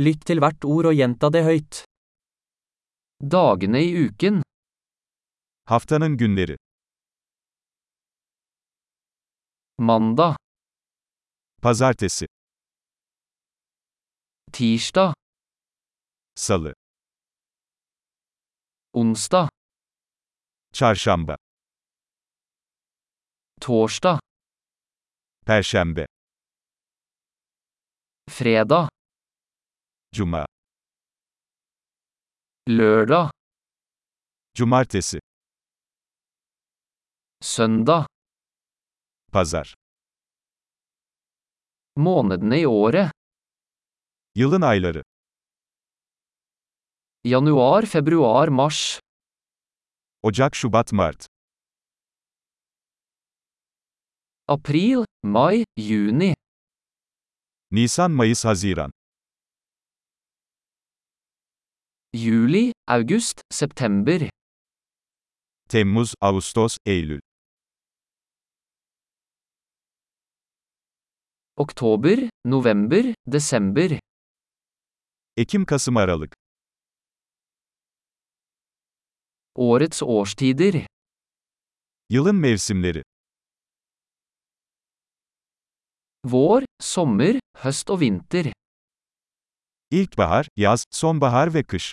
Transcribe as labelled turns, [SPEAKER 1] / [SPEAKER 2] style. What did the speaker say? [SPEAKER 1] Lytt til hvert ord og gjenta det høyt. Dagene i uken,
[SPEAKER 2] Haftanın günleri.
[SPEAKER 1] mandag,
[SPEAKER 2] Pazartesi,
[SPEAKER 1] tirsdag,
[SPEAKER 2] salı,
[SPEAKER 1] onsdag,
[SPEAKER 2] çarşamba,
[SPEAKER 1] torsdag,
[SPEAKER 2] perşembe,
[SPEAKER 1] fredag,
[SPEAKER 2] cuma,
[SPEAKER 1] lørdag,
[SPEAKER 2] cumartesi,
[SPEAKER 1] søndag.
[SPEAKER 2] pazar.
[SPEAKER 1] Månedene i året,
[SPEAKER 2] Yılın ayları.
[SPEAKER 1] januar, februar, mars,
[SPEAKER 2] Ocak, Şubat, Mart,
[SPEAKER 1] april, mai, juni,
[SPEAKER 2] Nisan, Mayıs, Haziran,
[SPEAKER 1] juli, august, september,
[SPEAKER 2] Temmuz, Ağustos, Eylül,
[SPEAKER 1] oktober, november, desember,
[SPEAKER 2] Ekim, Kasım, Aralık,
[SPEAKER 1] årets årstider,
[SPEAKER 2] yılın mevsimleri,
[SPEAKER 1] vår, sommer, høst og vinter,
[SPEAKER 2] ilkbahar, yaz, sonbahar ve kış,